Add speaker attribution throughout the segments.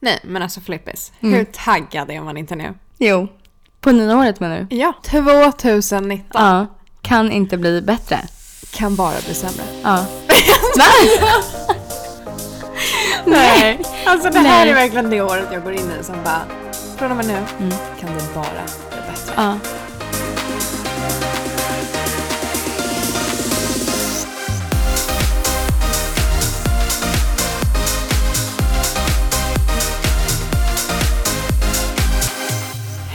Speaker 1: Nej, men alltså Flippis, hur taggad är man inte nu?
Speaker 2: Jo. På nya året menar du?
Speaker 1: Ja, Ah. 2019
Speaker 2: Ja. Kan inte bli bättre.
Speaker 1: kan bara bli sämre.
Speaker 2: Ja. Nej! Nej.
Speaker 1: Alltså det här
Speaker 2: Nej.
Speaker 1: är verkligen det året jag går in i som bara, från och med nu kan det bara bli bättre.
Speaker 2: Ja.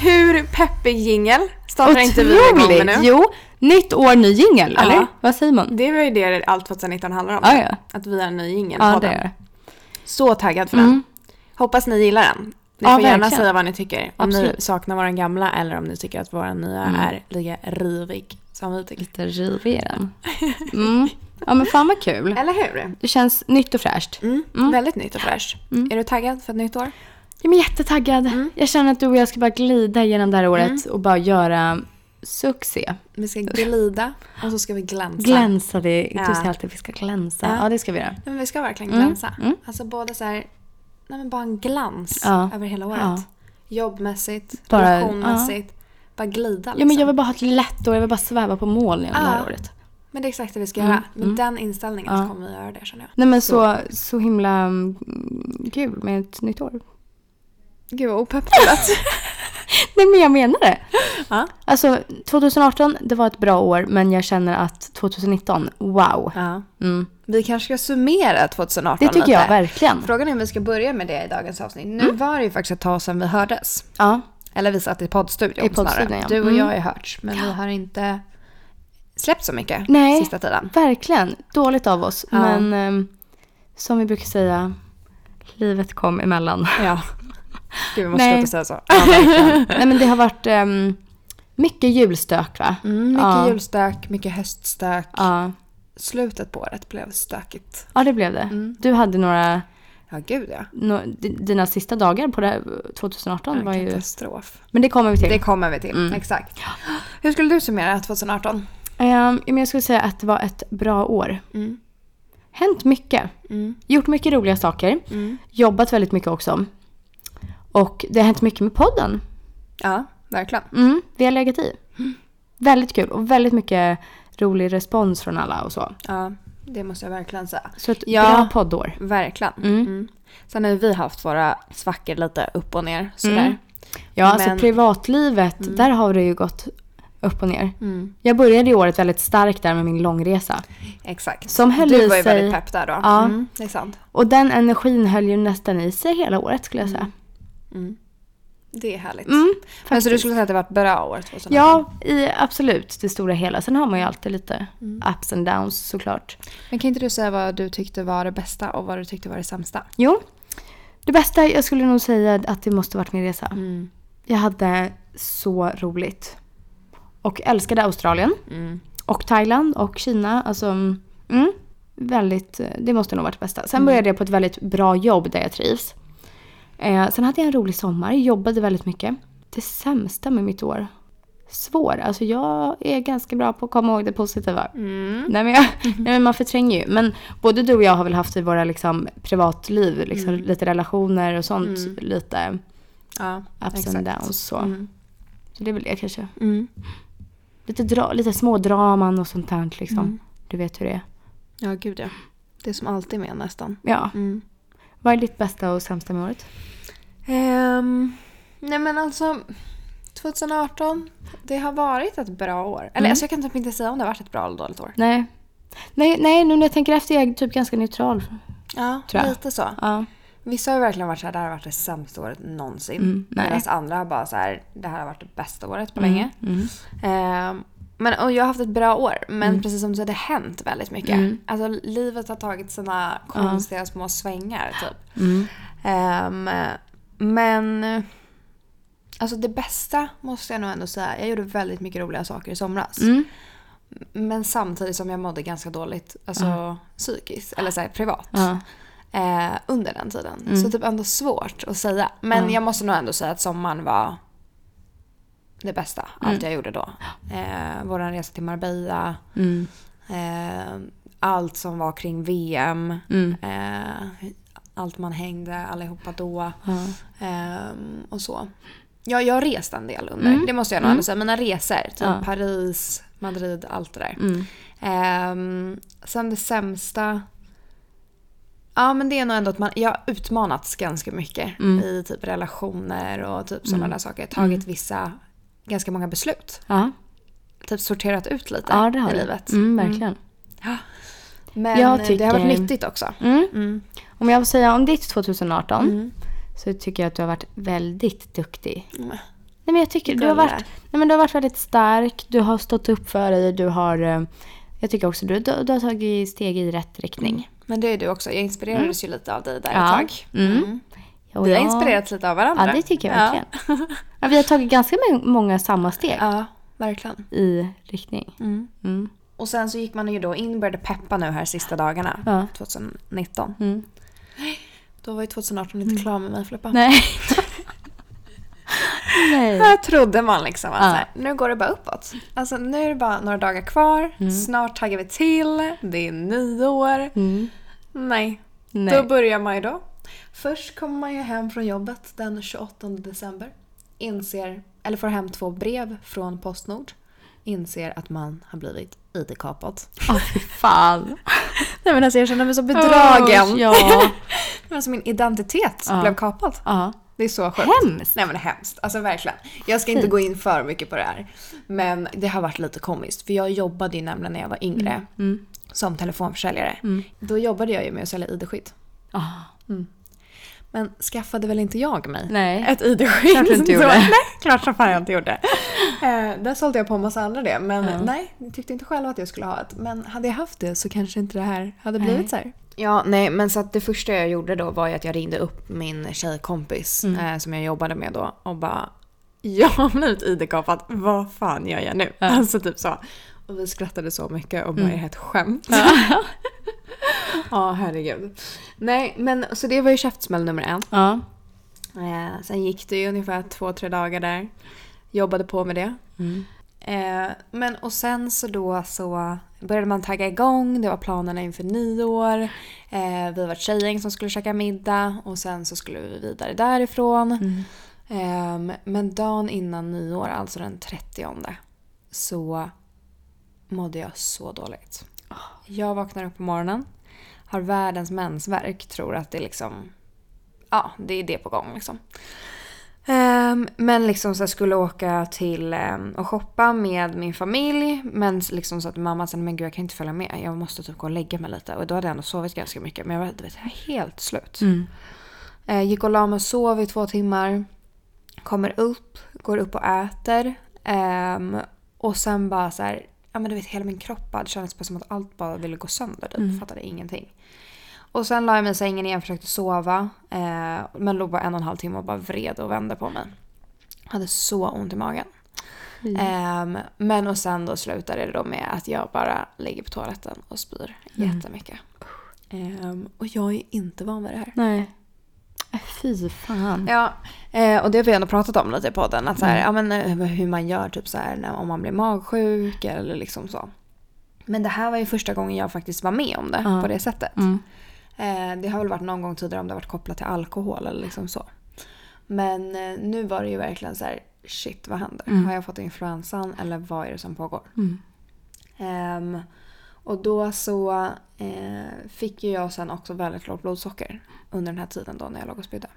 Speaker 1: Hur peppig jingel startar inte vi igång med nu?
Speaker 2: Otroligt! Jo. Nytt år, ny jingel,
Speaker 1: Ja.
Speaker 2: eller? Vad säger man?
Speaker 1: Det var ju det allt 2019 handlar om.
Speaker 2: Ja, ja.
Speaker 1: Att vi har en ny jingel
Speaker 2: Ja,
Speaker 1: på
Speaker 2: det
Speaker 1: den.
Speaker 2: gör det.
Speaker 1: Så taggad för
Speaker 2: Mm.
Speaker 1: den. Hoppas ni gillar den. Ni
Speaker 2: Ja,
Speaker 1: får gärna
Speaker 2: verkligen.
Speaker 1: säga vad ni tycker. Om ni
Speaker 2: Absolut. Mm.
Speaker 1: saknar våran gamla eller om ni tycker att våran nya är lika rivig som vi tycker.
Speaker 2: Lite rivig i den. Mm. Ja men fan vad kul.
Speaker 1: Eller hur?
Speaker 2: Det känns nytt och fräscht.
Speaker 1: Mm. Väldigt nytt och fräscht.
Speaker 2: Mm.
Speaker 1: Är du taggad för ett nytt år?
Speaker 2: Jag är jättetaggad. Jag känner att du och jag ska bara glida genom det här året och bara göra succé.
Speaker 1: Vi ska glida och så ska vi glänsa.
Speaker 2: Glänsa, det,
Speaker 1: Ja.
Speaker 2: du säger alltid att vi ska glänsa.
Speaker 1: Ja.
Speaker 2: Ja, det ska vi göra.
Speaker 1: Nej, men vi ska verkligen
Speaker 2: Mm.
Speaker 1: glänsa. Alltså både så här, nej men bara en glans
Speaker 2: Ja.
Speaker 1: över hela året.
Speaker 2: Ja.
Speaker 1: Jobbmässigt,
Speaker 2: Bara-
Speaker 1: relationmässigt. Bara glida liksom.
Speaker 2: Ja, liksom. men jag vill bara ha ett lätt år, jag vill bara sväva på mål genom det här
Speaker 1: Ja.
Speaker 2: året.
Speaker 1: Men det är exakt det vi ska
Speaker 2: Mm.
Speaker 1: göra. Med den inställningen så kommer vi göra det känner jag.
Speaker 2: Nej men så, så himla mm, kul med ett nytt år.
Speaker 1: Gud vad opepp det lät.
Speaker 2: Nej men jag menar det.
Speaker 1: Ja.
Speaker 2: Alltså 2018, det var ett bra år men jag känner att 2019, wow.
Speaker 1: Ja.
Speaker 2: Mm.
Speaker 1: Vi kanske ska summera 2018
Speaker 2: Det tycker jag
Speaker 1: lite.
Speaker 2: verkligen.
Speaker 1: Frågan är om vi ska börja med det i dagens avsnitt. Nu
Speaker 2: Mm.
Speaker 1: var det ju faktiskt ett tag sedan vi hördes.
Speaker 2: Ja,
Speaker 1: Eller vi satt i poddstudion,
Speaker 2: I poddstudion,
Speaker 1: snarare.
Speaker 2: ja.
Speaker 1: Du och
Speaker 2: Mm.
Speaker 1: jag har ju hörts, men vi har inte släppt så mycket
Speaker 2: Nej.
Speaker 1: sista tiden.
Speaker 2: verkligen. Dåligt av oss
Speaker 1: Ja.
Speaker 2: men ehm, som vi brukar säga, livet kom emellan.
Speaker 1: Ja. Gud, vi måste
Speaker 2: Nej.
Speaker 1: sluta säga så.
Speaker 2: Nej men det har varit ehm, mycket julstök va?
Speaker 1: Mm, mycket
Speaker 2: Ja.
Speaker 1: julstök, mycket höststök.
Speaker 2: Ja.
Speaker 1: Slutet på året blev stökigt.
Speaker 2: ja, det blev det. Du hade några,
Speaker 1: Ja, gud ja.
Speaker 2: nå- di- dina sista dagar på det här 2018 var ju...
Speaker 1: Katastrof.
Speaker 2: Men det kommer vi till.
Speaker 1: Det kommer vi till,
Speaker 2: Mm.
Speaker 1: exakt. Hur skulle du summera 2018?
Speaker 2: Ehm, men jag skulle säga att det var ett bra år.
Speaker 1: Mm.
Speaker 2: Hänt mycket.
Speaker 1: Mm.
Speaker 2: Gjort mycket roliga saker. Jobbat väldigt mycket också. Och det har hänt mycket med podden.
Speaker 1: Ja, verkligen.
Speaker 2: Mm, vi har legat i.
Speaker 1: Mm.
Speaker 2: Väldigt kul och väldigt mycket rolig respons från alla och så.
Speaker 1: Ja, det måste jag verkligen säga.
Speaker 2: Så ett
Speaker 1: Ja.
Speaker 2: bra poddår.
Speaker 1: Verkligen. Mm. Sen har ju vi haft våra svackor lite upp och ner sådär.
Speaker 2: Mm. Ja, alltså
Speaker 1: Men-
Speaker 2: privatlivet, där har det ju gått upp och ner.
Speaker 1: Mm.
Speaker 2: Jag började i året väldigt starkt där med min långresa.
Speaker 1: Exakt.
Speaker 2: Som höll
Speaker 1: du
Speaker 2: i
Speaker 1: var ju
Speaker 2: sig-
Speaker 1: väldigt pepp där då.
Speaker 2: Ja.
Speaker 1: Mm, det är sant.
Speaker 2: Och den energin höll ju nästan i sig hela året skulle jag säga.
Speaker 1: Det är härligt.
Speaker 2: Mm,
Speaker 1: Men så du skulle säga att det var ett bra år 2018?
Speaker 2: Ja, i, absolut det stora hela. Sen har man ju alltid lite ups and downs såklart.
Speaker 1: Men kan inte du säga vad du tyckte var det bästa och vad du tyckte var det sämsta?
Speaker 2: Jo, det bästa jag skulle nog säga att det måste varit min resa.
Speaker 1: Mm.
Speaker 2: Jag hade så roligt. Och älskade Australien.
Speaker 1: Mm.
Speaker 2: Och Thailand och Kina. Alltså, mm, väldigt, det måste nog varit det bästa. Sen började jag på ett väldigt bra jobb där jag trivs. Eh, sen hade jag en rolig sommar, jobbade väldigt mycket. Det sämsta med mitt år? Svår. Alltså jag är ganska bra på att komma ihåg det positiva.
Speaker 1: Mm.
Speaker 2: Nej, men jag, nej men man förtränger ju. Men både du och jag har väl haft i våra liksom, privatliv, liksom, lite relationer och sånt, lite
Speaker 1: Ja,
Speaker 2: ups and downs. Så. så det är väl det kanske.
Speaker 1: Mm.
Speaker 2: Lite, dra, lite smådraman och sånt där liksom.
Speaker 1: Mm.
Speaker 2: Du vet hur det är.
Speaker 1: Ja, gud ja. Det är som alltid med nästan.
Speaker 2: Ja.
Speaker 1: Mm.
Speaker 2: Vad är ditt bästa och sämsta med året?
Speaker 1: Ehm, nej men alltså 2018, det har varit ett bra år. Eller
Speaker 2: Mm.
Speaker 1: alltså jag kan typ inte säga om det har varit ett bra eller dåligt år.
Speaker 2: Nej. Nej, nej, nu när jag tänker efter är jag typ ganska neutral.
Speaker 1: Ja,
Speaker 2: Tror jag.
Speaker 1: lite så.
Speaker 2: Ja.
Speaker 1: Vissa har ju verkligen varit så här, det här har varit det sämsta året någonsin.
Speaker 2: Mm, nej.
Speaker 1: Medan andra har bara så här, det här har varit det bästa året på länge.
Speaker 2: Mm.
Speaker 1: Ehm, men, och jag har haft ett bra år, men precis som du säger, det har hänt väldigt mycket.
Speaker 2: Mm.
Speaker 1: Alltså livet har tagit sina konstiga små svängar typ.
Speaker 2: mm.
Speaker 1: Ehm, men alltså det bästa måste jag nog ändå säga, jag gjorde väldigt mycket roliga saker i somras.
Speaker 2: Mm.
Speaker 1: Men samtidigt som jag mådde ganska dåligt alltså, psykiskt, eller så här, privat.
Speaker 2: Ja. Mm.
Speaker 1: Eh, under den tiden. Så typ ändå svårt att säga. Men jag måste nog ändå säga att sommaren var det bästa. Allt jag gjorde då. Eh, Vår resa till Marbella.
Speaker 2: Mm. mm.
Speaker 1: Eh, allt som var kring VM. Eh, allt man hängde, allihopa då. Ehm, och så. Ja, jag har rest en del under. Det måste jag nog ändå säga. Mina resor. Typ
Speaker 2: Mm. Ja.
Speaker 1: Paris, Madrid, allt det där.
Speaker 2: Mm.
Speaker 1: Ehm, sen det sämsta. Ja men det är nog ändå att man, jag har utmanats ganska mycket
Speaker 2: Mm.
Speaker 1: i typ relationer och typ sådana där saker. Tagit vissa, ganska många beslut.
Speaker 2: Ja,
Speaker 1: Typ sorterat ut lite
Speaker 2: ja det har
Speaker 1: i
Speaker 2: du.
Speaker 1: livet.
Speaker 2: Mm, verkligen.
Speaker 1: Men
Speaker 2: Jag
Speaker 1: eh, det har varit
Speaker 2: tycker-
Speaker 1: nyttigt också.
Speaker 2: Mm. Om jag får säga om ditt 2018 så tycker jag att du har varit väldigt duktig. Nej, men jag tycker du har,
Speaker 1: Gulle.
Speaker 2: varit, nej, men du har varit väldigt stark, du har stått upp för dig, du har... eh, Jag tycker också du, du, du har tagit steg i rätt riktning.
Speaker 1: Men det är du också. Jag inspirerades ju lite av dig där
Speaker 2: Mm. Ja.
Speaker 1: ett tag.
Speaker 2: Mm. Och
Speaker 1: Vi har
Speaker 2: jag-
Speaker 1: inspirerats lite av varandra.
Speaker 2: Ja, det tycker jag
Speaker 1: Ja.
Speaker 2: verkligen. Ja, vi har tagit ganska mång- många samma steg
Speaker 1: Ja, verkligen.
Speaker 2: i riktning. Mm.
Speaker 1: Och sen så gick man ju då in och började peppa nu här sista dagarna.
Speaker 2: Ja.
Speaker 1: 2019.
Speaker 2: Mm.
Speaker 1: Då var ju 2018 inte klar med mig Filippa.
Speaker 2: Nej. Nej.
Speaker 1: Här trodde man liksom att
Speaker 2: Ja.
Speaker 1: så här, nu går det bara uppåt. Alltså nu är det bara några dagar kvar, snart taggar vi till, det är nyår.
Speaker 2: Mm.
Speaker 1: Nej.
Speaker 2: Nej.
Speaker 1: då börjar man ju då. Först kommer man ju hem från jobbet den 28 december. Inser, eller får hem två brev från Postnord. Inser att man har blivit ID-kapad.
Speaker 2: Åh, fy fan.
Speaker 1: Nej men alltså jag känner mig så
Speaker 2: Usch,
Speaker 1: bedragen.
Speaker 2: ja.
Speaker 1: Men alltså min identitet
Speaker 2: Ja.
Speaker 1: blev kapad.
Speaker 2: ja.
Speaker 1: Det är så sjukt.
Speaker 2: Hemskt.
Speaker 1: Nej men hemskt. Alltså verkligen. Jag ska inte gå in för mycket på det här. Men det har varit lite komiskt. För jag jobbade ju nämligen när jag var yngre.
Speaker 2: Mm.
Speaker 1: Som telefonförsäljare. Då jobbade jag ju med att sälja ID-skydd.
Speaker 2: Ah.
Speaker 1: Men skaffade väl inte jag mig
Speaker 2: Nej.
Speaker 1: ett ID-skydd?
Speaker 2: Klart du inte
Speaker 1: Så-
Speaker 2: gjorde.
Speaker 1: Nej, klart som fan jag inte gjorde. Eh, där sålde jag på en massa andra det. Men nej, jag tyckte inte själv att jag skulle ha ett. Men hade jag haft det så kanske inte det här hade blivit så här. Ja, nej, men så att det första jag gjorde då var ju att jag ringde upp min tjejkompis
Speaker 2: Mm.
Speaker 1: eh, som jag jobbade med då och bara jag har blivit ID-kapad, vad fan gör jag nu? Alltså typ så. Och vi skrattade så mycket och bara,
Speaker 2: Mm.
Speaker 1: är det här ett skämt? Ja, herregud. Nej, men så det var ju käftsmäll nummer en.
Speaker 2: Ja.
Speaker 1: Eh, sen gick det ju ungefär två, tre dagar där. Jobbade på med det. Eh, men och sen så då så började man tagga igång. Det var planerna inför nyår. Eh, vi var ett tjejgäng som skulle käka middag och sen så skulle vi vidare därifrån. Eh, men dagen innan nyår, alltså den 30 så mådde jag så dåligt. Jag vaknar upp på morgonen, har världens mensvärk, tror att det är liksom ja, det är det på gång liksom. Ehm, men liksom så jag skulle åka till ehm, och shoppa med min familj. Men liksom så att mamma sa men gud jag kan inte följa med. Jag måste typ gå och lägga mig lite. Och då hade jag ändå sovit ganska mycket. Men jag var du vet, helt slut.
Speaker 2: Mm.
Speaker 1: Eh, gick och la mig och sov i två timmar. Kommer upp, går upp och äter. Ehm, och sen bara så här, ja men du vet hela min kropp bara, det kändes bara som att allt bara ville gå sönder. Typ. Fattade ingenting. Och sen la jag mig i sängen igen, försökte sova. Eh, men låg bara en och en halv timme och bara vred och vände på mig. Hade så ont i magen. Ehm, men och sen då slutade det då med att jag bara ligger på toaletten och spyr jättemycket. Ehm, och jag är inte van vid det här.
Speaker 2: Nej. Äh, Fy fan.
Speaker 1: Ja, eh, och det har vi ändå pratat om lite i podden. Att så här, ja, men, eh, hur man gör typ så här, när, om man blir magsjuk eller liksom så. Men det här var ju första gången jag faktiskt var med om det på det sättet.
Speaker 2: Mm.
Speaker 1: Eh, det har väl varit någon gång tidigare om det har varit kopplat till alkohol eller liksom så. Men eh, nu var det ju verkligen så här, shit vad händer? Har jag fått influensan eller vad är det som pågår?
Speaker 2: Mm.
Speaker 1: Ehm, och då så eh, fick ju jag sen också väldigt lågt blodsocker under den här tiden då när jag låg och spydde.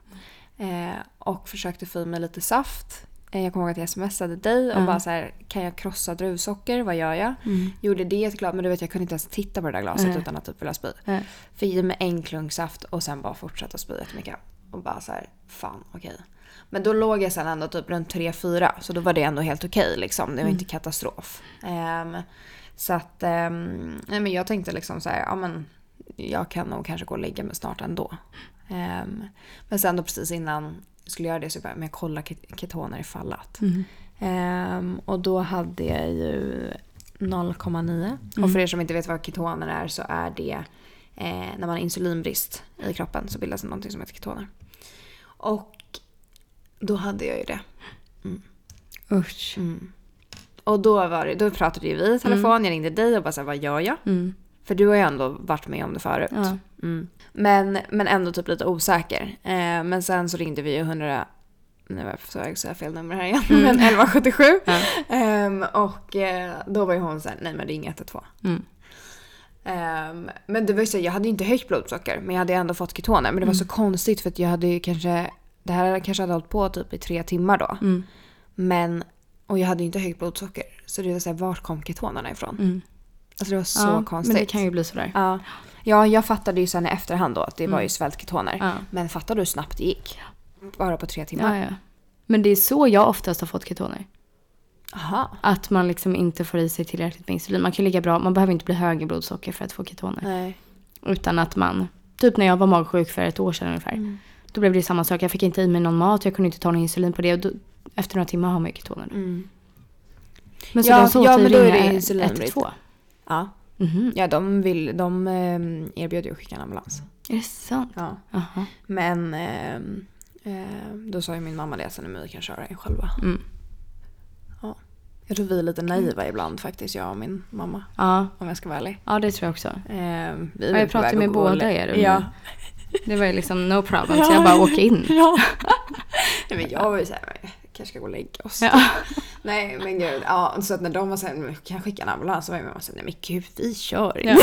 Speaker 1: Eh, och försökte få i mig lite saft. Eh, jag kommer ihåg att jag smsade dig och bara så här, kan jag krossa druvsocker? Vad gör jag?
Speaker 2: Mm.
Speaker 1: Gjorde det i ett glas, men du vet jag kunde inte ens titta på det där glaset utan att typ vilja spy.
Speaker 2: Nej.
Speaker 1: Fick i mig en klunk saft och sen bara fortsatte att spy jättemycket. Och bara så här, fan okej. Men då låg jag sen ändå typ runt 3-4 så då var det ändå helt okej liksom. Det var inte katastrof. Ehm, så att, ehm, nej men jag tänkte liksom så här, ja men jag kan nog kanske gå och lägga mig snart ändå. Ehm, men sen då precis innan jag skulle göra det så började jag med att kolla ket- ketoner ifall att.
Speaker 2: Mm.
Speaker 1: Ehm, och då hade jag ju 0,9. Och för er som inte vet vad ketoner är så är det eh, när man har insulinbrist i kroppen så bildas det någonting som heter ketoner. Och då hade jag ju det.
Speaker 2: Usch.
Speaker 1: Och då, var det, då pratade ju vi i telefon, jag ringde dig och bara såhär, vad gör jag? För du har ju ändå varit med om det förut.
Speaker 2: Mm. Ja.
Speaker 1: Mm. Men, men ändå typ lite osäker. Eh, men sen så ringde vi ju 100... Nu var jag på väg att säga fel nummer här igen. Men 1177.
Speaker 2: Mm. Ja.
Speaker 1: Ehm, och eh, då var ju hon såhär, nej men ring 112.
Speaker 2: Mm.
Speaker 1: Ehm, men det var ju så, här, jag hade ju inte högt blodsocker men jag hade ju ändå fått ketoner. Men det
Speaker 2: Mm.
Speaker 1: var så konstigt för att jag hade ju kanske, det här kanske hade hållit på typ i tre timmar då.
Speaker 2: Mm.
Speaker 1: Men, och jag hade ju inte högt blodsocker. Så det var såhär, vart kom ketonerna ifrån?
Speaker 2: Mm.
Speaker 1: Alltså det var så
Speaker 2: ja,
Speaker 1: konstigt.
Speaker 2: Men det kan ju bli sådär.
Speaker 1: ja. ja, jag fattade ju sen i efterhand då att det var
Speaker 2: Mm.
Speaker 1: ju svältketoner.
Speaker 2: Ja.
Speaker 1: Men fattade du hur snabbt det gick? Bara på tre
Speaker 2: Ja,
Speaker 1: timmar?
Speaker 2: ja. Men det är så jag oftast har fått ketoner.
Speaker 1: Aha.
Speaker 2: Att man liksom inte får i sig tillräckligt med insulin. Man kan ligga bra, man behöver inte bli hög i blodsocker för att få ketoner.
Speaker 1: Nej.
Speaker 2: Utan att man, typ när jag var magsjuk för ett år sedan ungefär.
Speaker 1: Mm.
Speaker 2: Då blev det samma sak. Jag fick inte i mig någon mat, jag kunde inte ta någon insulin på det. Och då, efter några timmar har man ju ketoner. då.
Speaker 1: Mm.
Speaker 2: Men så
Speaker 1: Ja,
Speaker 2: den sa
Speaker 1: ja,
Speaker 2: åt dig
Speaker 1: men då är
Speaker 2: ringa
Speaker 1: det insulinbrist.
Speaker 2: 112.
Speaker 1: Ja.
Speaker 2: Mhm.
Speaker 1: Ja, de, vill, de ehm, erbjöd ju att skicka en ambulans.
Speaker 2: Är det sant?
Speaker 1: Ja.
Speaker 2: Jaha.
Speaker 1: Men ehm, ehm, då sa ju min mamma det sen men vi kan köra en själva.
Speaker 2: Mm.
Speaker 1: Ja. Jag tror vi är lite naiva ibland faktiskt, jag och min mamma.
Speaker 2: Ja.
Speaker 1: Om jag ska vara ärlig.
Speaker 2: ja, det tror jag också.
Speaker 1: Ehm, vi
Speaker 2: Ja,
Speaker 1: var
Speaker 2: jag
Speaker 1: på
Speaker 2: pratade
Speaker 1: väg
Speaker 2: med
Speaker 1: att gå och
Speaker 2: båda
Speaker 1: lä-
Speaker 2: er under-
Speaker 1: Ja.
Speaker 2: Det var ju liksom no problem. Så jag bara åkte in.
Speaker 1: ja. Nej, men jag var ju såhär, "Men vi kanske ska gå och lägga oss.
Speaker 2: Ja.
Speaker 1: Nej men gud. Ja, så att när de var såhär, "Men kan jag skicka en ambulans? Så var jag med och sa, nej men gud vi kör.
Speaker 2: Ja.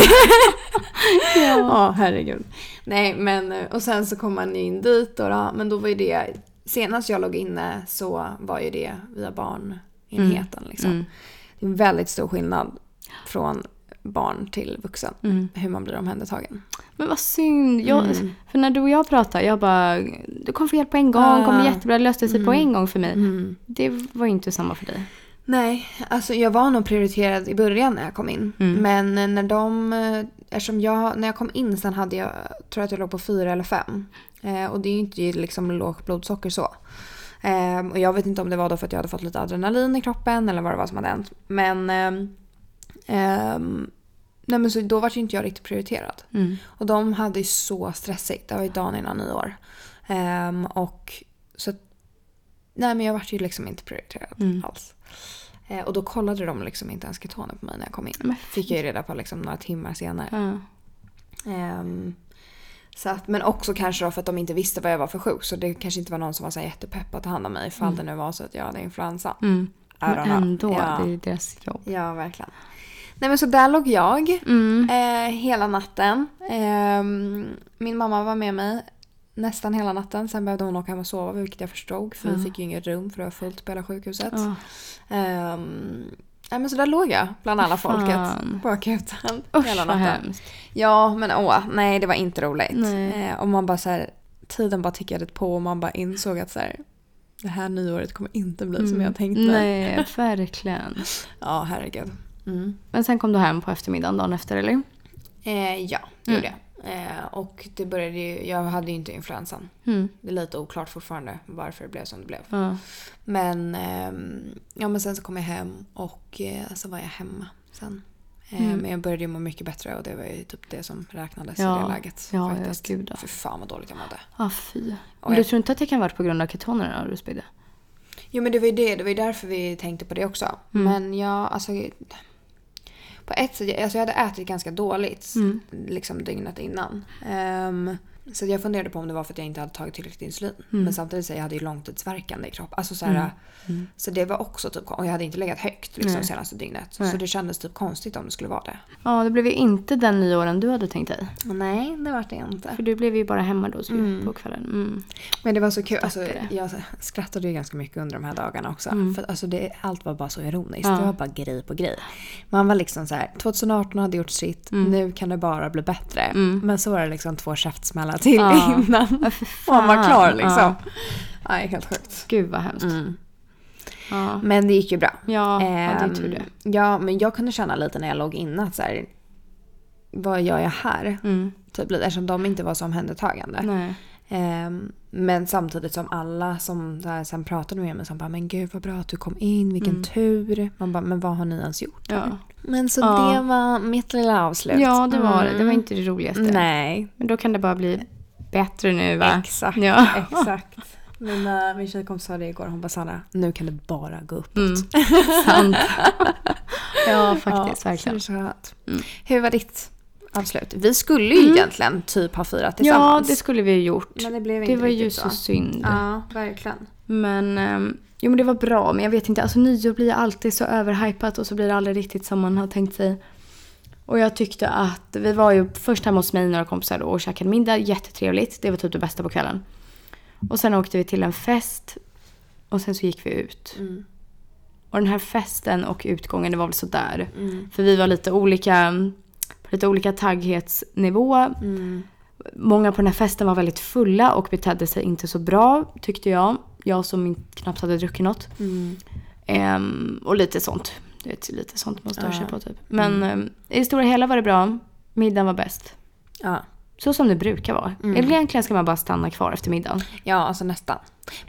Speaker 2: ja.
Speaker 1: Ja, herregud. Nej, men och sen så kom man ju in dit och då, men då var ju det, senast jag låg inne så var ju det via barnenheten liksom.
Speaker 2: Mm.
Speaker 1: Det är en väldigt stor skillnad från barn till vuxen,
Speaker 2: Mm.
Speaker 1: hur man blir omhändertagen.
Speaker 2: Men vad synd. Jag,
Speaker 1: Mm.
Speaker 2: För när du och jag pratade, jag bara, du kom för hjälp på en gång,
Speaker 1: Ah. Mm.
Speaker 2: kom jättebra, det löste sig på en gång för mig. Det var ju inte samma för dig.
Speaker 1: Nej, alltså jag var nog prioriterad i början när jag kom in. Men när de, eh, eftersom jag, när jag kom in sen hade jag, tror jag att jag låg på fyra eller fem. Eh, och det är ju inte liksom lågt blodsocker så. Eh, och jag vet inte om det var då för att jag hade fått lite adrenalin i kroppen eller vad det var som hade hänt. Men, ehm, ehm, nej men så då var ju inte jag riktigt prioriterad. Och de hade ju så stressigt, det var ju dagen innan nyår. Ehm, och så att Nej men jag vart ju liksom inte prioriterad
Speaker 2: Mm.
Speaker 1: alls. Eh, och då kollade de liksom inte ens ketoner på mig när jag kom in.
Speaker 2: Men
Speaker 1: Fick jag ju reda på liksom några timmar senare.
Speaker 2: Ja.
Speaker 1: Ehm, så att, men också kanske då för att de inte visste vad jag var för sjuk. Så det kanske inte var någon som var så här jättepepp att ta hand om mig ifall det nu var så att jag hade influensa.
Speaker 2: Mm.
Speaker 1: I
Speaker 2: Men
Speaker 1: don't know.
Speaker 2: ändå,
Speaker 1: Ja.
Speaker 2: det är deras jobb.
Speaker 1: Ja, verkligen. Nej men så där låg jag
Speaker 2: Mm.
Speaker 1: eh, hela natten. Ehm, min mamma var med mig nästan hela natten. Sen behövde hon åka hem och sova vilket jag förstod. För vi fick ju inget rum för det var fullt på hela sjukhuset.
Speaker 2: Mm. Ja.
Speaker 1: Ehm, nej, men så där låg jag bland alla
Speaker 2: Fan.
Speaker 1: folket på akuten
Speaker 2: Usch
Speaker 1: hela
Speaker 2: vad
Speaker 1: natten.
Speaker 2: hemskt.
Speaker 1: Ja men åh, nej det var inte roligt.
Speaker 2: Nej.
Speaker 1: Eh, och man bara så här, tiden bara tickade på och man bara insåg att så här, det här nyåret kommer inte bli som jag tänkte.
Speaker 2: Mm. Nej, verkligen.
Speaker 1: Ja herregud. Mm.
Speaker 2: Men sen kom du hem på eftermiddagen dagen efter eller?
Speaker 1: Eh, ja, det gjorde
Speaker 2: Mm.
Speaker 1: jag. Eh, och det började ju, jag hade ju inte influensan.
Speaker 2: Mm.
Speaker 1: Det är lite oklart fortfarande varför det blev som det blev.
Speaker 2: Ja.
Speaker 1: Men, ehm, ja, men sen så kom jag hem och eh, så var jag hemma sen. Eh, Men jag började ju må mycket bättre och det var ju typ det som räknades i
Speaker 2: Mm. Ja.
Speaker 1: det läget.
Speaker 2: Ja, ja, gud, ja.
Speaker 1: Fy fan vad dåligt jag mådde.
Speaker 2: Ah, fy.
Speaker 1: Och
Speaker 2: Men du
Speaker 1: jag-
Speaker 2: tror inte att det kan vara på grund av ketonerna du spydde?
Speaker 1: Jo men det var ju det, det var ju därför vi tänkte på det också. Men jag, alltså... På ett sätt, alltså jag hade ätit ganska dåligt liksom dygnet innan. Ehm, så jag funderade på om det var för att jag inte hade tagit tillräckligt insulin. Men samtidigt så jag hade ju långtidsverkande i kroppen. Alltså så, här, så det var också typ, och jag hade inte legat högt liksom, senaste dygnet. Så det kändes typ konstigt om det skulle vara det.
Speaker 2: Ja, det blev ju inte den nyåren du hade tänkt dig.
Speaker 1: Nej, det var det inte.
Speaker 2: För du blev ju bara hemma då så på kvällen. Mm.
Speaker 1: Men det var så kul. Alltså,
Speaker 2: Tackar.
Speaker 1: jag skrattade ju ganska mycket under de här dagarna också.
Speaker 2: Mm.
Speaker 1: För att, alltså, det, allt var bara så ironiskt. Det var bara grej på grej. Man var liksom så här, 2018 hade gjort sitt,
Speaker 2: Mm.
Speaker 1: nu kan det bara bli bättre. Men så var det liksom två käftsmällar till
Speaker 2: Ja.
Speaker 1: innan.
Speaker 2: Ja, för
Speaker 1: Man var
Speaker 2: fan.
Speaker 1: klar liksom.
Speaker 2: Ja.
Speaker 1: Nej, helt sjukt.
Speaker 2: Gud vad hemskt. Ja.
Speaker 1: Men det gick ju bra.
Speaker 2: Ja, ja, det är
Speaker 1: Mm. Ehm,
Speaker 2: tur det.
Speaker 1: Ja, men jag kunde känna lite när jag låg inne att så här, vad gör jag här?
Speaker 2: Mm.
Speaker 1: Typ, lite, eftersom de inte var så omhändertagande.
Speaker 2: Nej.
Speaker 1: Ehm, men samtidigt som alla som där sen pratade med mig som bara “men gud vad bra att du kom in, vilken tur”. Man bara “men vad har ni ens gjort?”
Speaker 2: Ja.
Speaker 1: Men så
Speaker 2: Ja.
Speaker 1: det var mitt lilla avslut. Mm.
Speaker 2: ja, det var det. Det var inte det roligaste.
Speaker 1: Nej,
Speaker 2: Men då kan det bara bli bättre nu va?
Speaker 1: exakt.
Speaker 2: Ja.
Speaker 1: exakt. Mina, min tjejkompis sa det igår, hon bara “Sanna, nu kan det bara gå uppåt”.
Speaker 2: Mm. Sant. ja, faktiskt.
Speaker 1: Ja,
Speaker 2: verkligen.
Speaker 1: Mm. så det är så skönt. Hur var ditt? Absolut. Vi skulle ju egentligen typ ha firat
Speaker 2: Ja,
Speaker 1: tillsammans.
Speaker 2: det skulle vi ju gjort.
Speaker 1: men det blev inte
Speaker 2: Det var ju
Speaker 1: riktigt
Speaker 2: så
Speaker 1: så.
Speaker 2: synd.
Speaker 1: Ja, verkligen.
Speaker 2: Men, ehm, jo men det var bra. Men jag vet inte, alltså nyår blir alltid så överhypat och så blir det aldrig riktigt som man har tänkt sig. Och jag tyckte att, vi var ju först hemma hos mig några kompisar och käkade middag, jättetrevligt. Det var typ det bästa på kvällen. Och sen åkte vi till en fest och sen så gick vi ut.
Speaker 1: Mm.
Speaker 2: Och den här festen och utgången, det var väl sådär.
Speaker 1: Mm.
Speaker 2: För vi var lite olika, på lite olika tagghetsnivå.
Speaker 1: Mm.
Speaker 2: Många på den här festen var väldigt fulla och betedde sig inte så bra tyckte jag. Jag som in- knappt hade druckit något.
Speaker 1: Mm.
Speaker 2: Ehm, och lite sånt. Du vet, lite sånt man stör sig
Speaker 1: Ja.
Speaker 2: på typ. Men ehm, i det stora hela var det bra. Middagen var bäst.
Speaker 1: Ja.
Speaker 2: Så som det brukar vara.
Speaker 1: Mm.
Speaker 2: Egentligen ska man bara stanna kvar efter middagen.
Speaker 1: ja, alltså nästan.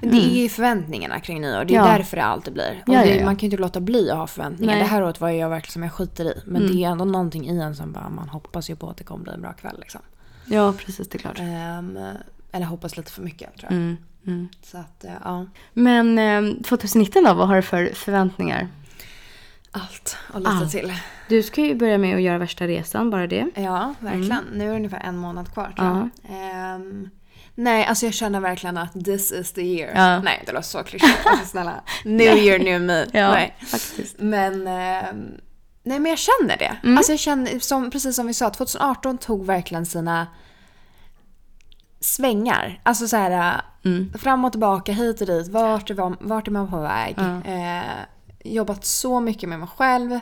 Speaker 1: Men det
Speaker 2: Mm.
Speaker 1: är ju förväntningarna kring nyår. Det är
Speaker 2: Ja.
Speaker 1: därför det alltid blir. Och
Speaker 2: Ja,
Speaker 1: det,
Speaker 2: ja, ja.
Speaker 1: Man kan ju inte låta bli att ha förväntningar.
Speaker 2: Nej.
Speaker 1: Det här året var ju jag verkligen som jag skiter i. Men
Speaker 2: Mm.
Speaker 1: det är ändå någonting i en som bara, man hoppas ju på att det kommer bli en bra kväll. Liksom.
Speaker 2: Ja, precis. Det är klart.
Speaker 1: Ehm, eller hoppas lite för mycket tror jag.
Speaker 2: Mm, mm.
Speaker 1: Så att, eh, ja.
Speaker 2: Men ehm, 2019 då? Vad har du för förväntningar?
Speaker 1: Allt och lite
Speaker 2: Allt.
Speaker 1: till.
Speaker 2: Du ska ju börja med att göra värsta resan, bara det.
Speaker 1: Ja, verkligen. Nu är det ungefär en månad kvar tror
Speaker 2: Mm. Ja.
Speaker 1: jag. Ehm, nej, alltså jag känner verkligen att this is the year.
Speaker 2: Ja.
Speaker 1: Nej, det låter så klyschigt. Alltså, snälla. New year, new me. Nej.
Speaker 2: Mm. faktiskt.
Speaker 1: Men, ehm, nej, men jag känner det.
Speaker 2: Mm.
Speaker 1: Alltså jag känner, som, precis som vi sa, 2018 tog verkligen sina svängar. Alltså så här, eh,
Speaker 2: Mm.
Speaker 1: fram och tillbaka, hit och dit. Vart är, var- vart är man på väg?
Speaker 2: Ja.
Speaker 1: Eh, jobbat så mycket med mig själv.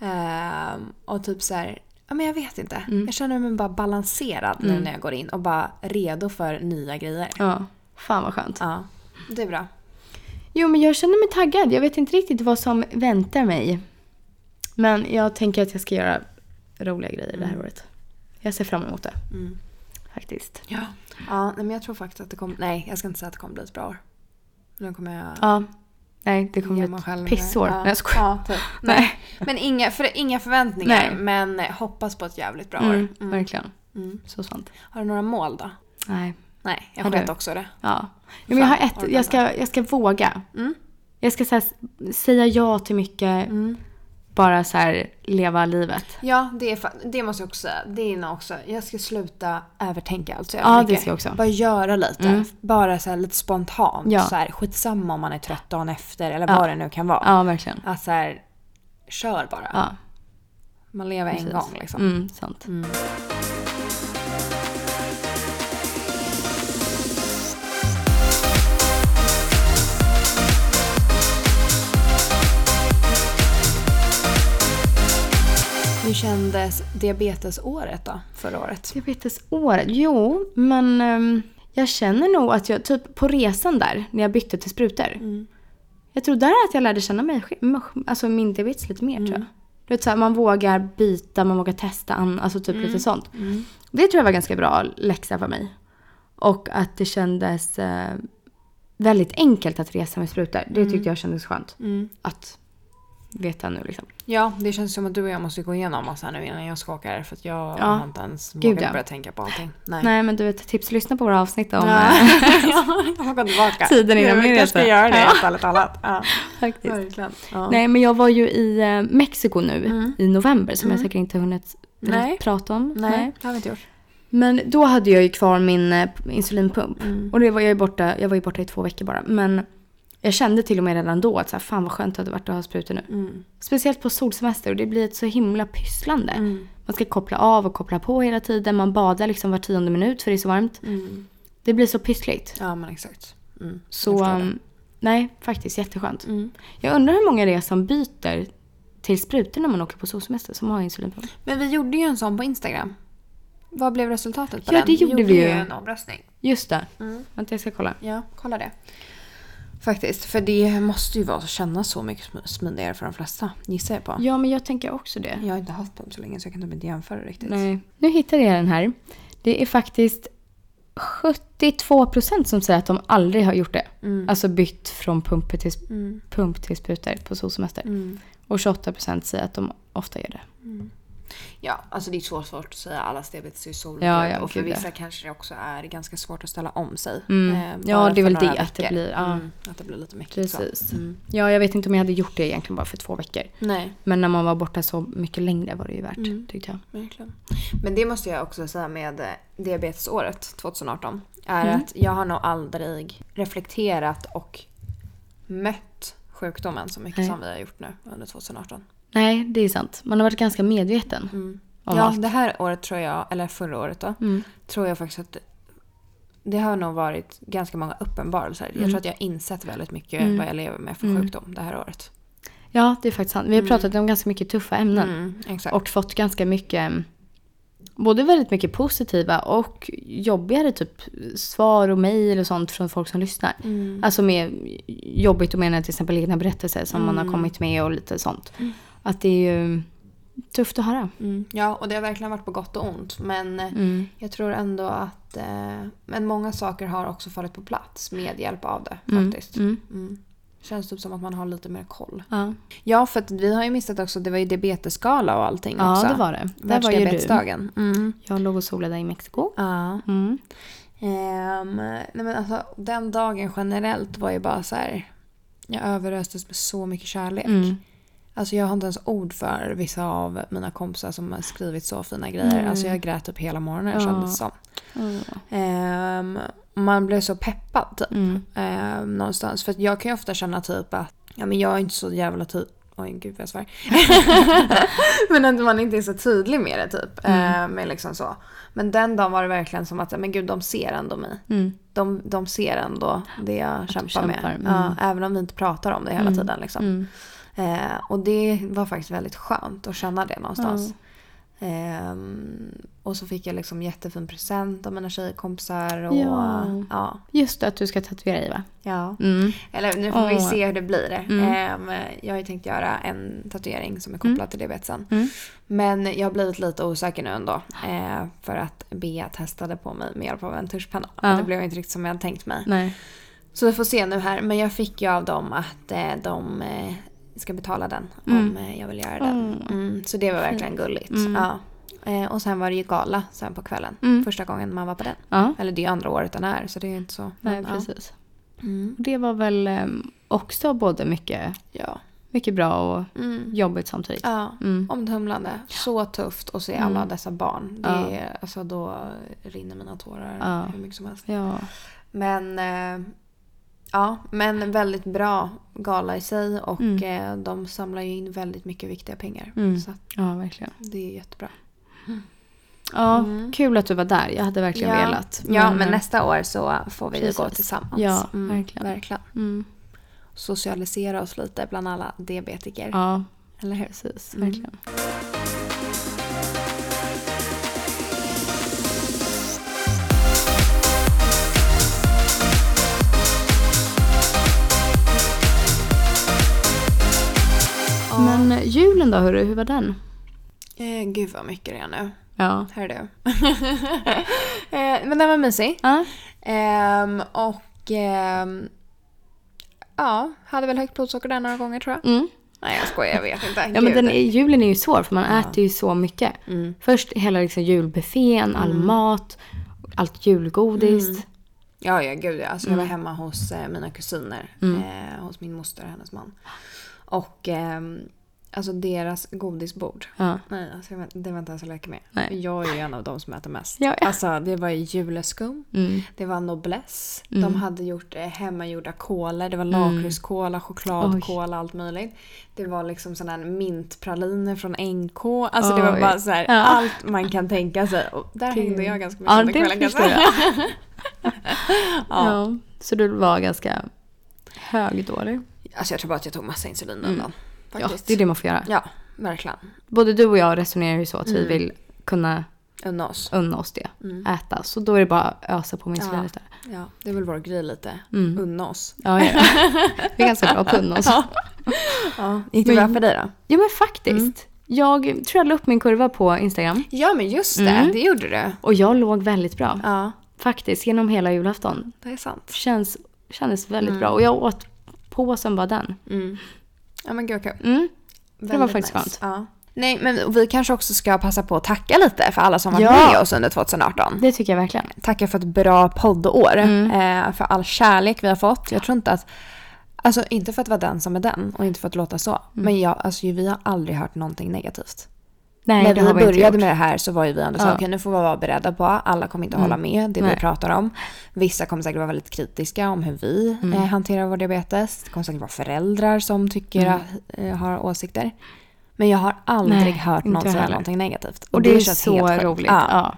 Speaker 1: Eh, och typ så här, ja men jag vet inte.
Speaker 2: Mm.
Speaker 1: Jag känner mig bara balanserad nu när jag går in och bara redo för nya grejer.
Speaker 2: Ja, fan vad skönt.
Speaker 1: Ja, det är bra.
Speaker 2: Jo, men jag känner mig taggad. Jag vet inte riktigt vad som väntar mig. Men jag tänker att jag ska göra roliga grejer det här året. Jag ser fram emot det.
Speaker 1: Mm.
Speaker 2: Faktiskt.
Speaker 1: Ja. Ja, nej, men jag tror faktiskt att det kommer, nej jag ska inte säga att det kommer bli ett bra år. Nu kommer jag
Speaker 2: Ja. Nej, det kommer
Speaker 1: ge
Speaker 2: bli
Speaker 1: mig
Speaker 2: ett
Speaker 1: själv.
Speaker 2: pissår.
Speaker 1: Ja.
Speaker 2: Nej, jag skojar.
Speaker 1: ja, typ. nej. Men inga, för, inga förväntningar,
Speaker 2: Nej.
Speaker 1: men eh, hoppas på ett jävligt bra
Speaker 2: Mm,
Speaker 1: år. Mm.
Speaker 2: Verkligen.
Speaker 1: Mm.
Speaker 2: Så sant.
Speaker 1: Har du några mål då?
Speaker 2: Nej.
Speaker 1: Nej, jag
Speaker 2: Har du?
Speaker 1: sket också det.
Speaker 2: Ja. Jo, men jag har
Speaker 1: Fan,
Speaker 2: ett.
Speaker 1: orkar
Speaker 2: Jag ska, jag ska våga.
Speaker 1: Mm.
Speaker 2: Jag ska så här, s- säga ja till mycket.
Speaker 1: Mm.
Speaker 2: Bara så här leva livet.
Speaker 1: Ja, det, är fa- det måste jag också säga. Det är nog också. Jag ska sluta övertänka allt så jävla
Speaker 2: Ja,
Speaker 1: mycket.
Speaker 2: det ska jag också.
Speaker 1: Bara göra lite. Bara så här lite spontant.
Speaker 2: Ja.
Speaker 1: Så här, skitsamma om man är trött dagen efter eller
Speaker 2: Ja.
Speaker 1: vad det nu kan vara.
Speaker 2: Ja, verkligen.
Speaker 1: Att så här, kör bara.
Speaker 2: Ja,
Speaker 1: Man lever en
Speaker 2: precis.
Speaker 1: gång liksom.
Speaker 2: Mm, sant.
Speaker 1: Hur kändes diabetesåret då, förra året?
Speaker 2: Diabetesåret? Jo, men ehm, jag känner nog att jag, typ på resan där, när jag bytte till sprutor.
Speaker 1: Mm.
Speaker 2: Jag tror där att jag lärde känna mig, sj- alltså min diabetes lite mer tror jag.
Speaker 1: Mm.
Speaker 2: Du vet, så här, man vågar byta, man vågar testa, an- alltså typ
Speaker 1: Mm.
Speaker 2: lite sånt. Det tror jag var ganska bra läxa för mig. Och att det kändes eh, väldigt enkelt att resa med sprutor. Det
Speaker 1: Mm.
Speaker 2: tyckte jag kändes skönt. Att veta nu liksom.
Speaker 1: Ja, det känns som att du och jag måste gå igenom massa nu innan jag ska åka här för att jag
Speaker 2: Ja.
Speaker 1: har inte ens
Speaker 2: Gud,
Speaker 1: vågat
Speaker 2: ja.
Speaker 1: börja tänka på allting. Nej.
Speaker 2: Nej men du vet, tips, lyssna på våra avsnitt om
Speaker 1: Ja.
Speaker 2: eh,
Speaker 1: jag får gå tillbaka.
Speaker 2: Tiden innan
Speaker 1: jag
Speaker 2: min
Speaker 1: kanske ska
Speaker 2: resa.
Speaker 1: göra det
Speaker 2: Ja.
Speaker 1: helt ärligt talat. Ja.
Speaker 2: faktiskt.
Speaker 1: Verkligen. Ja.
Speaker 2: Nej, men jag var ju i eh, Mexiko nu i november som jag säkert inte har hunnit
Speaker 1: Mm. Nej.
Speaker 2: prata om.
Speaker 1: Nej, det har vi inte gjort.
Speaker 2: Men då hade jag ju kvar min eh, insulinpump.
Speaker 1: Mm.
Speaker 2: Och det var jag, ju borta, jag var ju borta i två veckor bara. Men jag kände till och med redan då att så här, fan vad skönt det hade varit att ha sprutor nu.
Speaker 1: Mm.
Speaker 2: Speciellt på solsemester och det blir ett så himla pysslande.
Speaker 1: Mm.
Speaker 2: Man ska koppla av och koppla på hela tiden. Man badar liksom var tionde minut för det är så varmt. Det blir så pyssligt.
Speaker 1: Mm. Ja, men exakt. Mm.
Speaker 2: Så um, nej, faktiskt jätteskönt. Jag undrar hur många det är som byter till sprutor när man åker på solsemester som har insulinpump.
Speaker 1: Men vi gjorde ju en sån på Instagram. Vad blev resultatet på
Speaker 2: Ja,
Speaker 1: den?
Speaker 2: det gjorde vi ju.
Speaker 1: en omröstning.
Speaker 2: Just det. Vänta, jag ska kolla.
Speaker 1: Ja, kolla det. Faktiskt, för det måste ju vara att känna så mycket sm- smidigare för de flesta, gissar jag på.
Speaker 2: Ja, men jag tänker också det.
Speaker 1: Jag har inte haft pump så länge så jag kan typ inte jämföra riktigt.
Speaker 2: Nej. Nu hittade jag den här. Det är faktiskt 72% som säger att de aldrig har gjort det.
Speaker 1: Mm.
Speaker 2: Alltså bytt från pump till, sp-
Speaker 1: Mm.
Speaker 2: pump till sprutor på solsemester. Och 28% säger att de ofta gör det.
Speaker 1: Ja, alltså det är så svårt att säga. Allas diabetes är ju så olika.
Speaker 2: Ja, ja,
Speaker 1: och för
Speaker 2: gud, ja.
Speaker 1: vissa kanske det också är ganska svårt att ställa om sig.
Speaker 2: Mm.
Speaker 1: eh,
Speaker 2: Ja,
Speaker 1: bara
Speaker 2: det
Speaker 1: för
Speaker 2: är väl
Speaker 1: några
Speaker 2: det, att det
Speaker 1: veckor.
Speaker 2: blir- ja.
Speaker 1: Mm, att det blir lite mycket så. Mm.
Speaker 2: Precis. Ja, jag vet inte om jag hade gjort det egentligen bara för två veckor.
Speaker 1: Nej,
Speaker 2: Men när man var borta så mycket längre var det ju värt
Speaker 1: Mm.
Speaker 2: tyckte jag.
Speaker 1: verkligen. Men det måste jag också säga med eh, diabetesåret 2018. Är att jag har nog aldrig reflekterat och mött sjukdomen så mycket
Speaker 2: Nej.
Speaker 1: som vi har gjort nu under 2018.
Speaker 2: Nej, det är sant. Man har varit ganska medveten om
Speaker 1: Mm. Ja,
Speaker 2: allt. Mm.
Speaker 1: det här året tror jag, eller förra året då, tror jag faktiskt att det har nog varit ganska många uppenbarelser. Jag tror att jag har insett väldigt mycket vad jag lever med för sjukdom det här året.
Speaker 2: Ja, det är faktiskt sant. Vi har pratat om ganska mycket tuffa ämnen.
Speaker 1: Mm, exakt.
Speaker 2: Och fått ganska mycket, mm, både väldigt mycket positiva och jobbigare typ svar och mejl och sånt från folk som lyssnar.
Speaker 1: Mm.
Speaker 2: Alltså med jobbigt och menar jag till exempel egna berättelser som man
Speaker 1: Mm.
Speaker 2: har kommit med och lite sånt. Att det är ju tufft att höra.
Speaker 1: Mm, ja, och det har verkligen varit på gott och ont. Men eh, jag tror ändå att eh, men många saker har också fallit på plats med hjälp av det faktiskt. Mm. Känns typ som att man har lite mer koll.
Speaker 2: Ja,
Speaker 1: Ja, för att vi har ju missat också, det var ju diabetesgala och allting också.
Speaker 2: ja det var det. Där var ju du.
Speaker 1: Världsdiabetesdagen. Mm.
Speaker 2: Jag låg och solade i Mexiko.
Speaker 1: Ja.
Speaker 2: Mm.
Speaker 1: Ehm, nej men alltså, den dagen generellt var ju bara så här. Jag överöstes med så mycket kärlek.
Speaker 2: Mm.
Speaker 1: Alltså jag har inte ens ord för vissa av mina kompisar som har skrivit så fina grejer. Alltså jag grät typ hela morgonen
Speaker 2: Mm. Ja.
Speaker 1: kändes det som.
Speaker 2: Mm.
Speaker 1: Ehm, man blev så peppad typ.
Speaker 2: Mm.
Speaker 1: Ehm, någonstans. För att jag kan ju ofta känna typ att ja, men jag är inte så jävla tydlig. Oj gud vad jag svär. men att man inte är så tydlig med det typ.
Speaker 2: Mm.
Speaker 1: Ehm, men liksom så. Men den dagen var det verkligen som att men gud de ser ändå mig.
Speaker 2: Mm.
Speaker 1: De, de ser ändå det jag kämpar,
Speaker 2: kämpar,
Speaker 1: med.
Speaker 2: mm.
Speaker 1: Ja, även om vi inte pratar om det hela tiden. Liksom.
Speaker 2: Mm.
Speaker 1: Eh, och det var faktiskt väldigt skönt att känna det någonstans.
Speaker 2: Mm.
Speaker 1: Ehm, och så fick jag liksom jättefin present av mina tjejkompisar. Och,
Speaker 2: Ja.
Speaker 1: Ja,
Speaker 2: Just det, att du ska tatuera dig va?
Speaker 1: ja.
Speaker 2: Mm.
Speaker 1: Eller nu får vi
Speaker 2: Åh.
Speaker 1: se hur det blir.
Speaker 2: Mm.
Speaker 1: Ehm, jag har ju tänkt göra en tatuering som är kopplad till diabetesen.
Speaker 2: Mm.
Speaker 1: Men jag har blivit lite osäker nu ändå. Eh, för att Bea testade på mig med hjälp av en tuschpenna.
Speaker 2: Ja.
Speaker 1: Det blev inte riktigt som jag hade tänkt mig.
Speaker 2: Nej.
Speaker 1: Så vi får se nu här. Men jag fick ju av dem att eh, de eh, ska betala den om
Speaker 2: Mm.
Speaker 1: eh, jag vill göra den. Mm, så det var verkligen gulligt. Ja. Eh, och sen var det ju gala sen på kvällen.
Speaker 2: Mm.
Speaker 1: Första gången man var på den.
Speaker 2: Ja.
Speaker 1: Eller det är ju andra året den är så det är ju inte så.
Speaker 2: Nej,
Speaker 1: men,
Speaker 2: precis.
Speaker 1: Ja. Mm.
Speaker 2: Och Det var väl ehm, också både mycket,
Speaker 1: Ja.
Speaker 2: mycket bra och
Speaker 1: Mm.
Speaker 2: jobbigt samtidigt.
Speaker 1: ja.
Speaker 2: Mm.
Speaker 1: Omtumlande. Så tufft att se alla dessa barn. Det
Speaker 2: Ja.
Speaker 1: är, alltså, då rinner mina tårar
Speaker 2: Ja.
Speaker 1: hur mycket som helst.
Speaker 2: Ja.
Speaker 1: Men eh, ja, men väldigt bra gala i sig och eh, de samlar ju in väldigt mycket viktiga pengar.
Speaker 2: Mm.
Speaker 1: Så att
Speaker 2: ja, verkligen.
Speaker 1: det är jättebra.
Speaker 2: Ja, Kul att du var där. Jag hade verkligen
Speaker 1: Mm. ja.
Speaker 2: velat.
Speaker 1: Ja, men
Speaker 2: eh,
Speaker 1: nästa år så får vi ju gå
Speaker 2: Precis.
Speaker 1: tillsammans.
Speaker 2: Ja, verkligen.
Speaker 1: verkligen.
Speaker 2: Mm.
Speaker 1: Socialisera oss lite bland alla diabetiker.
Speaker 2: Ja,
Speaker 1: Eller hur?
Speaker 2: precis.
Speaker 1: Mm.
Speaker 2: Verkligen.
Speaker 1: Ja.
Speaker 2: Men eh, julen då, hörru, hur var den?
Speaker 1: Eh, gud vad mycket det är nu.
Speaker 2: Ja.
Speaker 1: Hör du. eh, men den var mysig.
Speaker 2: Ja,
Speaker 1: Ehm, och ehm, ja, hade väl högt blodsocker där några gånger tror jag.
Speaker 2: mm.
Speaker 1: Nej jag skojar, jag vet inte.
Speaker 2: ja men den är, julen är ju svår för man äter ju så mycket.
Speaker 1: Mm.
Speaker 2: Först hela liksom, julbuffén, all mat, allt julgodis.
Speaker 1: Mm. Ja, ja gud ja. Alltså,
Speaker 2: Mm.
Speaker 1: Jag var hemma hos eh, mina kusiner. Eh, hos min moster och hennes man. Och ehm, alltså deras godisbord.
Speaker 2: Ja.
Speaker 1: Nej, alltså, jag vet- det var inte ens att leka med.
Speaker 2: Nej.
Speaker 1: Jag är ju en av de som äter mest.
Speaker 2: Ja, ja.
Speaker 1: Alltså det var ju juleskum.
Speaker 2: Mm.
Speaker 1: Det var noblesse. De hade gjort eh, hemmagjorda kolor. Det var
Speaker 2: Mm.
Speaker 1: lakritskola, chokladkola, allt möjligt. Det var liksom sådana här mintpraliner från NK. Alltså det var
Speaker 2: Oj.
Speaker 1: bara så här,
Speaker 2: Ja.
Speaker 1: allt man kan tänka sig. Och där hängde jag ganska mycket
Speaker 2: Ja,
Speaker 1: under
Speaker 2: det
Speaker 1: kvällen
Speaker 2: förstår
Speaker 1: kanske.
Speaker 2: jag.
Speaker 1: Ja.
Speaker 2: Ja, så du var ganska hög då eller?
Speaker 1: Alltså jag tror bara att jag tog massa insulin den dagen.
Speaker 2: Ja,
Speaker 1: Faktiskt.
Speaker 2: det är det man får göra.
Speaker 1: Ja, verkligen.
Speaker 2: Både du och jag resonerar ju så att
Speaker 1: Mm.
Speaker 2: vi vill kunna
Speaker 1: Unna oss.
Speaker 2: unna oss det. Äta. Så då är det bara att ösa på min
Speaker 1: Mm. Ja.
Speaker 2: ja. istället.
Speaker 1: Ja, det är väl vår grej lite. Unna oss.
Speaker 2: Ja, ja. Vi är ganska bra på att unna oss.
Speaker 1: Ja. Ja. Gick det bra för dig då?
Speaker 2: Ja men faktiskt. Jag tror jag la upp min kurva på Instagram.
Speaker 1: Ja men just det,
Speaker 2: Mm.
Speaker 1: det gjorde du.
Speaker 2: Och jag låg väldigt bra.
Speaker 1: Ja,
Speaker 2: Faktiskt, genom hela julafton.
Speaker 1: det är sant.
Speaker 2: Känns, kändes väldigt
Speaker 1: Mm.
Speaker 2: bra. Och jag åt på som bara den.
Speaker 1: Ja men gud vad kul.
Speaker 2: Mm.
Speaker 1: Det
Speaker 2: var faktiskt
Speaker 1: Ja. Nej, men vi kanske också ska passa på att tacka lite för alla som var
Speaker 2: Ja.
Speaker 1: med oss under 2018.
Speaker 2: Det tycker jag verkligen.
Speaker 1: Tacka för ett bra poddår.
Speaker 2: Mm.
Speaker 1: Eh, för all kärlek vi har fått. Jag tror inte att... Alltså inte för att vara den som är den och inte för att låta så.
Speaker 2: Mm.
Speaker 1: Men jag, alltså, vi har aldrig hört någonting negativt.
Speaker 2: Nej,
Speaker 1: När
Speaker 2: det
Speaker 1: vi
Speaker 2: har vi inte gjort.
Speaker 1: började med det här så var ju vi ändå så
Speaker 2: Ja. Mm.
Speaker 1: okej nu får vi vara beredda på, alla kommer inte hålla med det
Speaker 2: Nej.
Speaker 1: vi pratar om. Vissa kommer säkert vara väldigt kritiska om hur vi
Speaker 2: Mm.
Speaker 1: eh, hanterar vår diabetes. Det kommer säkert vara föräldrar som tycker, eh, har åsikter. Men jag har aldrig
Speaker 2: Mm. Nej,
Speaker 1: hört
Speaker 2: inte
Speaker 1: någon
Speaker 2: jag
Speaker 1: säga
Speaker 2: heller.
Speaker 1: någonting negativt.
Speaker 2: Och det, är
Speaker 1: känns
Speaker 2: så
Speaker 1: helt sjukt.
Speaker 2: roligt. Ja.
Speaker 1: Ja,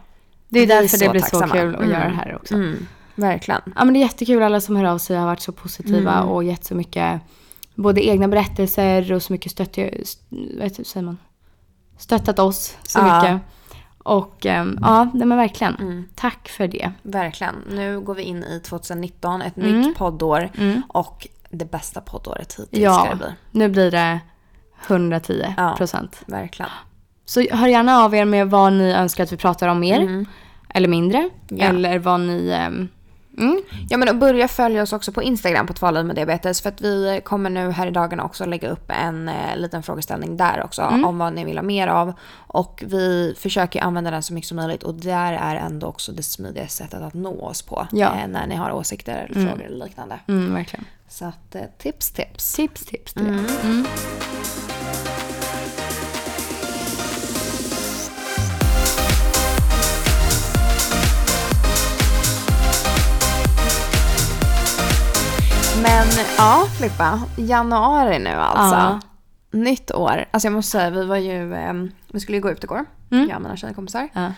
Speaker 2: Det är
Speaker 1: Vi är
Speaker 2: därför
Speaker 1: så
Speaker 2: det blir
Speaker 1: tacksamma.
Speaker 2: så kul att
Speaker 1: Mm.
Speaker 2: göra det här också.
Speaker 1: Mm, verkligen.
Speaker 2: Ja men det är jättekul alla som hör av sig har varit så positiva
Speaker 1: Mm.
Speaker 2: och gett så mycket både egna berättelser och så mycket stött, st- vad heter- säger man? stöttat oss så
Speaker 1: Ja.
Speaker 2: mycket. Och ehm, ja, nej men verkligen.
Speaker 1: Mm.
Speaker 2: Tack för det.
Speaker 1: Verkligen. Nu går vi in i 2019, ett
Speaker 2: Mm.
Speaker 1: nytt poddår och det bästa poddåret hittills
Speaker 2: Ja,
Speaker 1: ska det bli.
Speaker 2: nu blir det 110
Speaker 1: Ja.
Speaker 2: procent.
Speaker 1: Verkligen.
Speaker 2: Så hör gärna av er med vad ni önskar att vi pratar om mer. Eller mindre.
Speaker 1: Mm. Ja.
Speaker 2: Eller vad ni... ehm, mm.
Speaker 1: Ja men och börja följa oss också på Instagram på Tvaliv med diabetes för att vi kommer nu här i dagarna också lägga upp en eh, liten frågeställning där också
Speaker 2: Mm.
Speaker 1: om vad ni vill ha mer av. Och vi försöker ju använda den så mycket som möjligt och där är ändå också det smidigaste sättet att nå oss på
Speaker 2: Ja.
Speaker 1: eh, när ni har åsikter eller frågor eller liknande.
Speaker 2: Mm, verkligen. Mm.
Speaker 1: Så att eh, tips tips.
Speaker 2: Tips, tips till det.
Speaker 1: Men ja Filippa, januari nu alltså.
Speaker 2: Ja.
Speaker 1: Nytt år. Alltså jag måste säga, vi var ju, ehm, vi skulle ju gå ut igår, jag och mina tjejkompisar.
Speaker 2: Mm. Ja.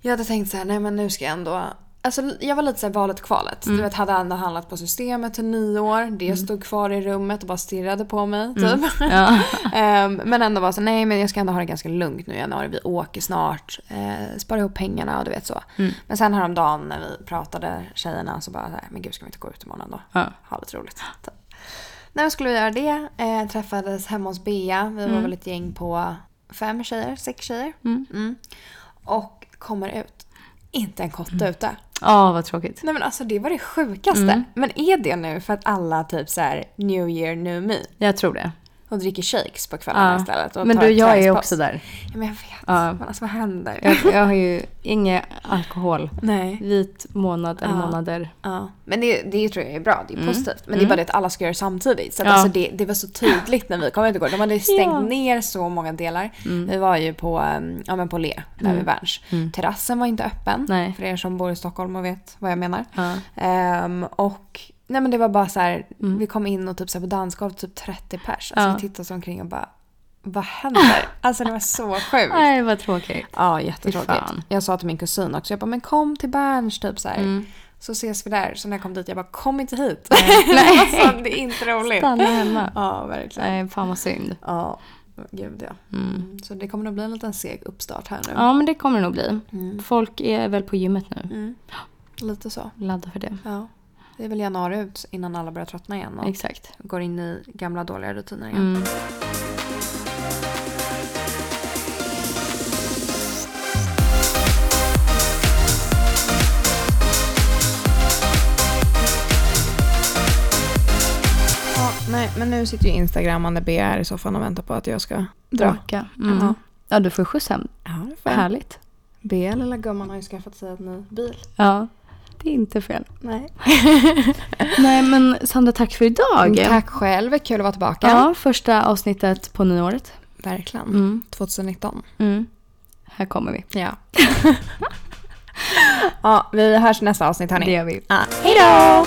Speaker 1: Jag hade tänkt så här, nej men nu ska jag ändå... Alltså jag var lite såhär valet kvalet.
Speaker 2: Mm.
Speaker 1: Du vet, hade ändå handlat på systemet till nyår. Det stod kvar i rummet och bara stirrade på mig typ.
Speaker 2: Mm. Ja.
Speaker 1: Ehm, men ändå var så nej men jag ska ändå ha det ganska lugnt nu i januari. Vi åker snart. Eh, spara ihop pengarna och du vet så.
Speaker 2: Mm.
Speaker 1: Men sen häromdagen när vi pratade tjejerna så bara så här, men gud ska vi inte gå ut imorgon då?
Speaker 2: Ja.
Speaker 1: Ha lite roligt. Typ. Nej men skulle vi göra det. Eh, träffades hemma hos Bea. Vi
Speaker 2: Mm.
Speaker 1: var väl ett gäng på fem tjejer, sex tjejer. Mm. Och kommer ut. Inte en kotte
Speaker 2: Mm.
Speaker 1: ute.
Speaker 2: Ja, vad tråkigt.
Speaker 1: Nej men alltså det var det sjukaste.
Speaker 2: Mm.
Speaker 1: Men är det nu för att alla typ så här new year, new me?
Speaker 2: Jag tror det.
Speaker 1: Och dricker shakes på kvällarna
Speaker 2: Ja.
Speaker 1: istället. Och
Speaker 2: Men
Speaker 1: tar
Speaker 2: du,
Speaker 1: ett
Speaker 2: jag är
Speaker 1: träningspass.
Speaker 2: också där.
Speaker 1: Ja, men jag vet.
Speaker 2: Ja.
Speaker 1: Men alltså vad händer?
Speaker 2: Jag, jag har ju ingen alkohol.
Speaker 1: Nej.
Speaker 2: Vit månad eller
Speaker 1: Ja.
Speaker 2: månader.
Speaker 1: Ja. Men det, det tror jag är bra, det är positivt. Men det är bara det att alla ska göra det samtidigt. Så att
Speaker 2: Mm. Ja.
Speaker 1: alltså det, det var så tydligt när vi kom ut igår. De hade stängt
Speaker 2: Ja. Mm.
Speaker 1: ner så många delar. Vi var ju på, ehm, ja, men på Le, där vid Berns. Terrassen var inte öppen,
Speaker 2: Mm. Nej.
Speaker 1: för er som bor i Stockholm och vet vad jag menar.
Speaker 2: Ja.
Speaker 1: Ehm, och nej men det var bara så här, vi kom in och typ så här på dansgolvet typ 30 pers. Alltså
Speaker 2: Mm. Ja.
Speaker 1: vi tittade oss omkring och bara, vad händer? alltså det var så sjukt.
Speaker 2: Nej, vad tråkigt.
Speaker 1: Ja, jättetråkigt.
Speaker 2: fan. Mm.
Speaker 1: Jag sa till min kusin också, jag bara, men kom till Berns typ så här. Så ses vi där. Så när jag kom dit, jag bara, kom inte hit.
Speaker 2: Nej.
Speaker 1: alltså, det är inte roligt.
Speaker 2: Stanna hemma.
Speaker 1: Ja, verkligen.
Speaker 2: Nej, fan vad synd.
Speaker 1: Ja, gud ja. Mm. Så det kommer nog bli en liten seg uppstart här nu. Mm.
Speaker 2: Ja, men det kommer det nog bli. Folk är väl på gymmet nu.
Speaker 1: Lite så.
Speaker 2: Ladda för det.
Speaker 1: Ja. Det är väl januari ut innan alla börjar tröttna igen och
Speaker 2: Exakt.
Speaker 1: går in i gamla dåliga rutiner igen.
Speaker 2: Mm.
Speaker 1: Ja, nej, men nu sitter ju Instagrammande BR i soffan och väntar på att jag ska dra.
Speaker 2: Draka. Mm.
Speaker 1: Ja.
Speaker 2: Ja, du får skjuts hem.
Speaker 1: Ja, det får jag.
Speaker 2: Härligt.
Speaker 1: BR, lilla gumman, har ju skaffat sig en ny bil.
Speaker 2: Ja, det är inte fel.
Speaker 1: Nej.
Speaker 2: Nej, men Sandra, tack för idag.
Speaker 1: Mm, Tack själv, kul att vara tillbaka.
Speaker 2: Ja, första avsnittet på nyåret.
Speaker 1: Verkligen.
Speaker 2: Mm.
Speaker 1: 2019.
Speaker 2: Mm. Här kommer vi.
Speaker 1: Ja. ja, vi hörs nästa avsnitt hörni.
Speaker 2: Det gör vi.
Speaker 1: Ja.
Speaker 2: Hej då!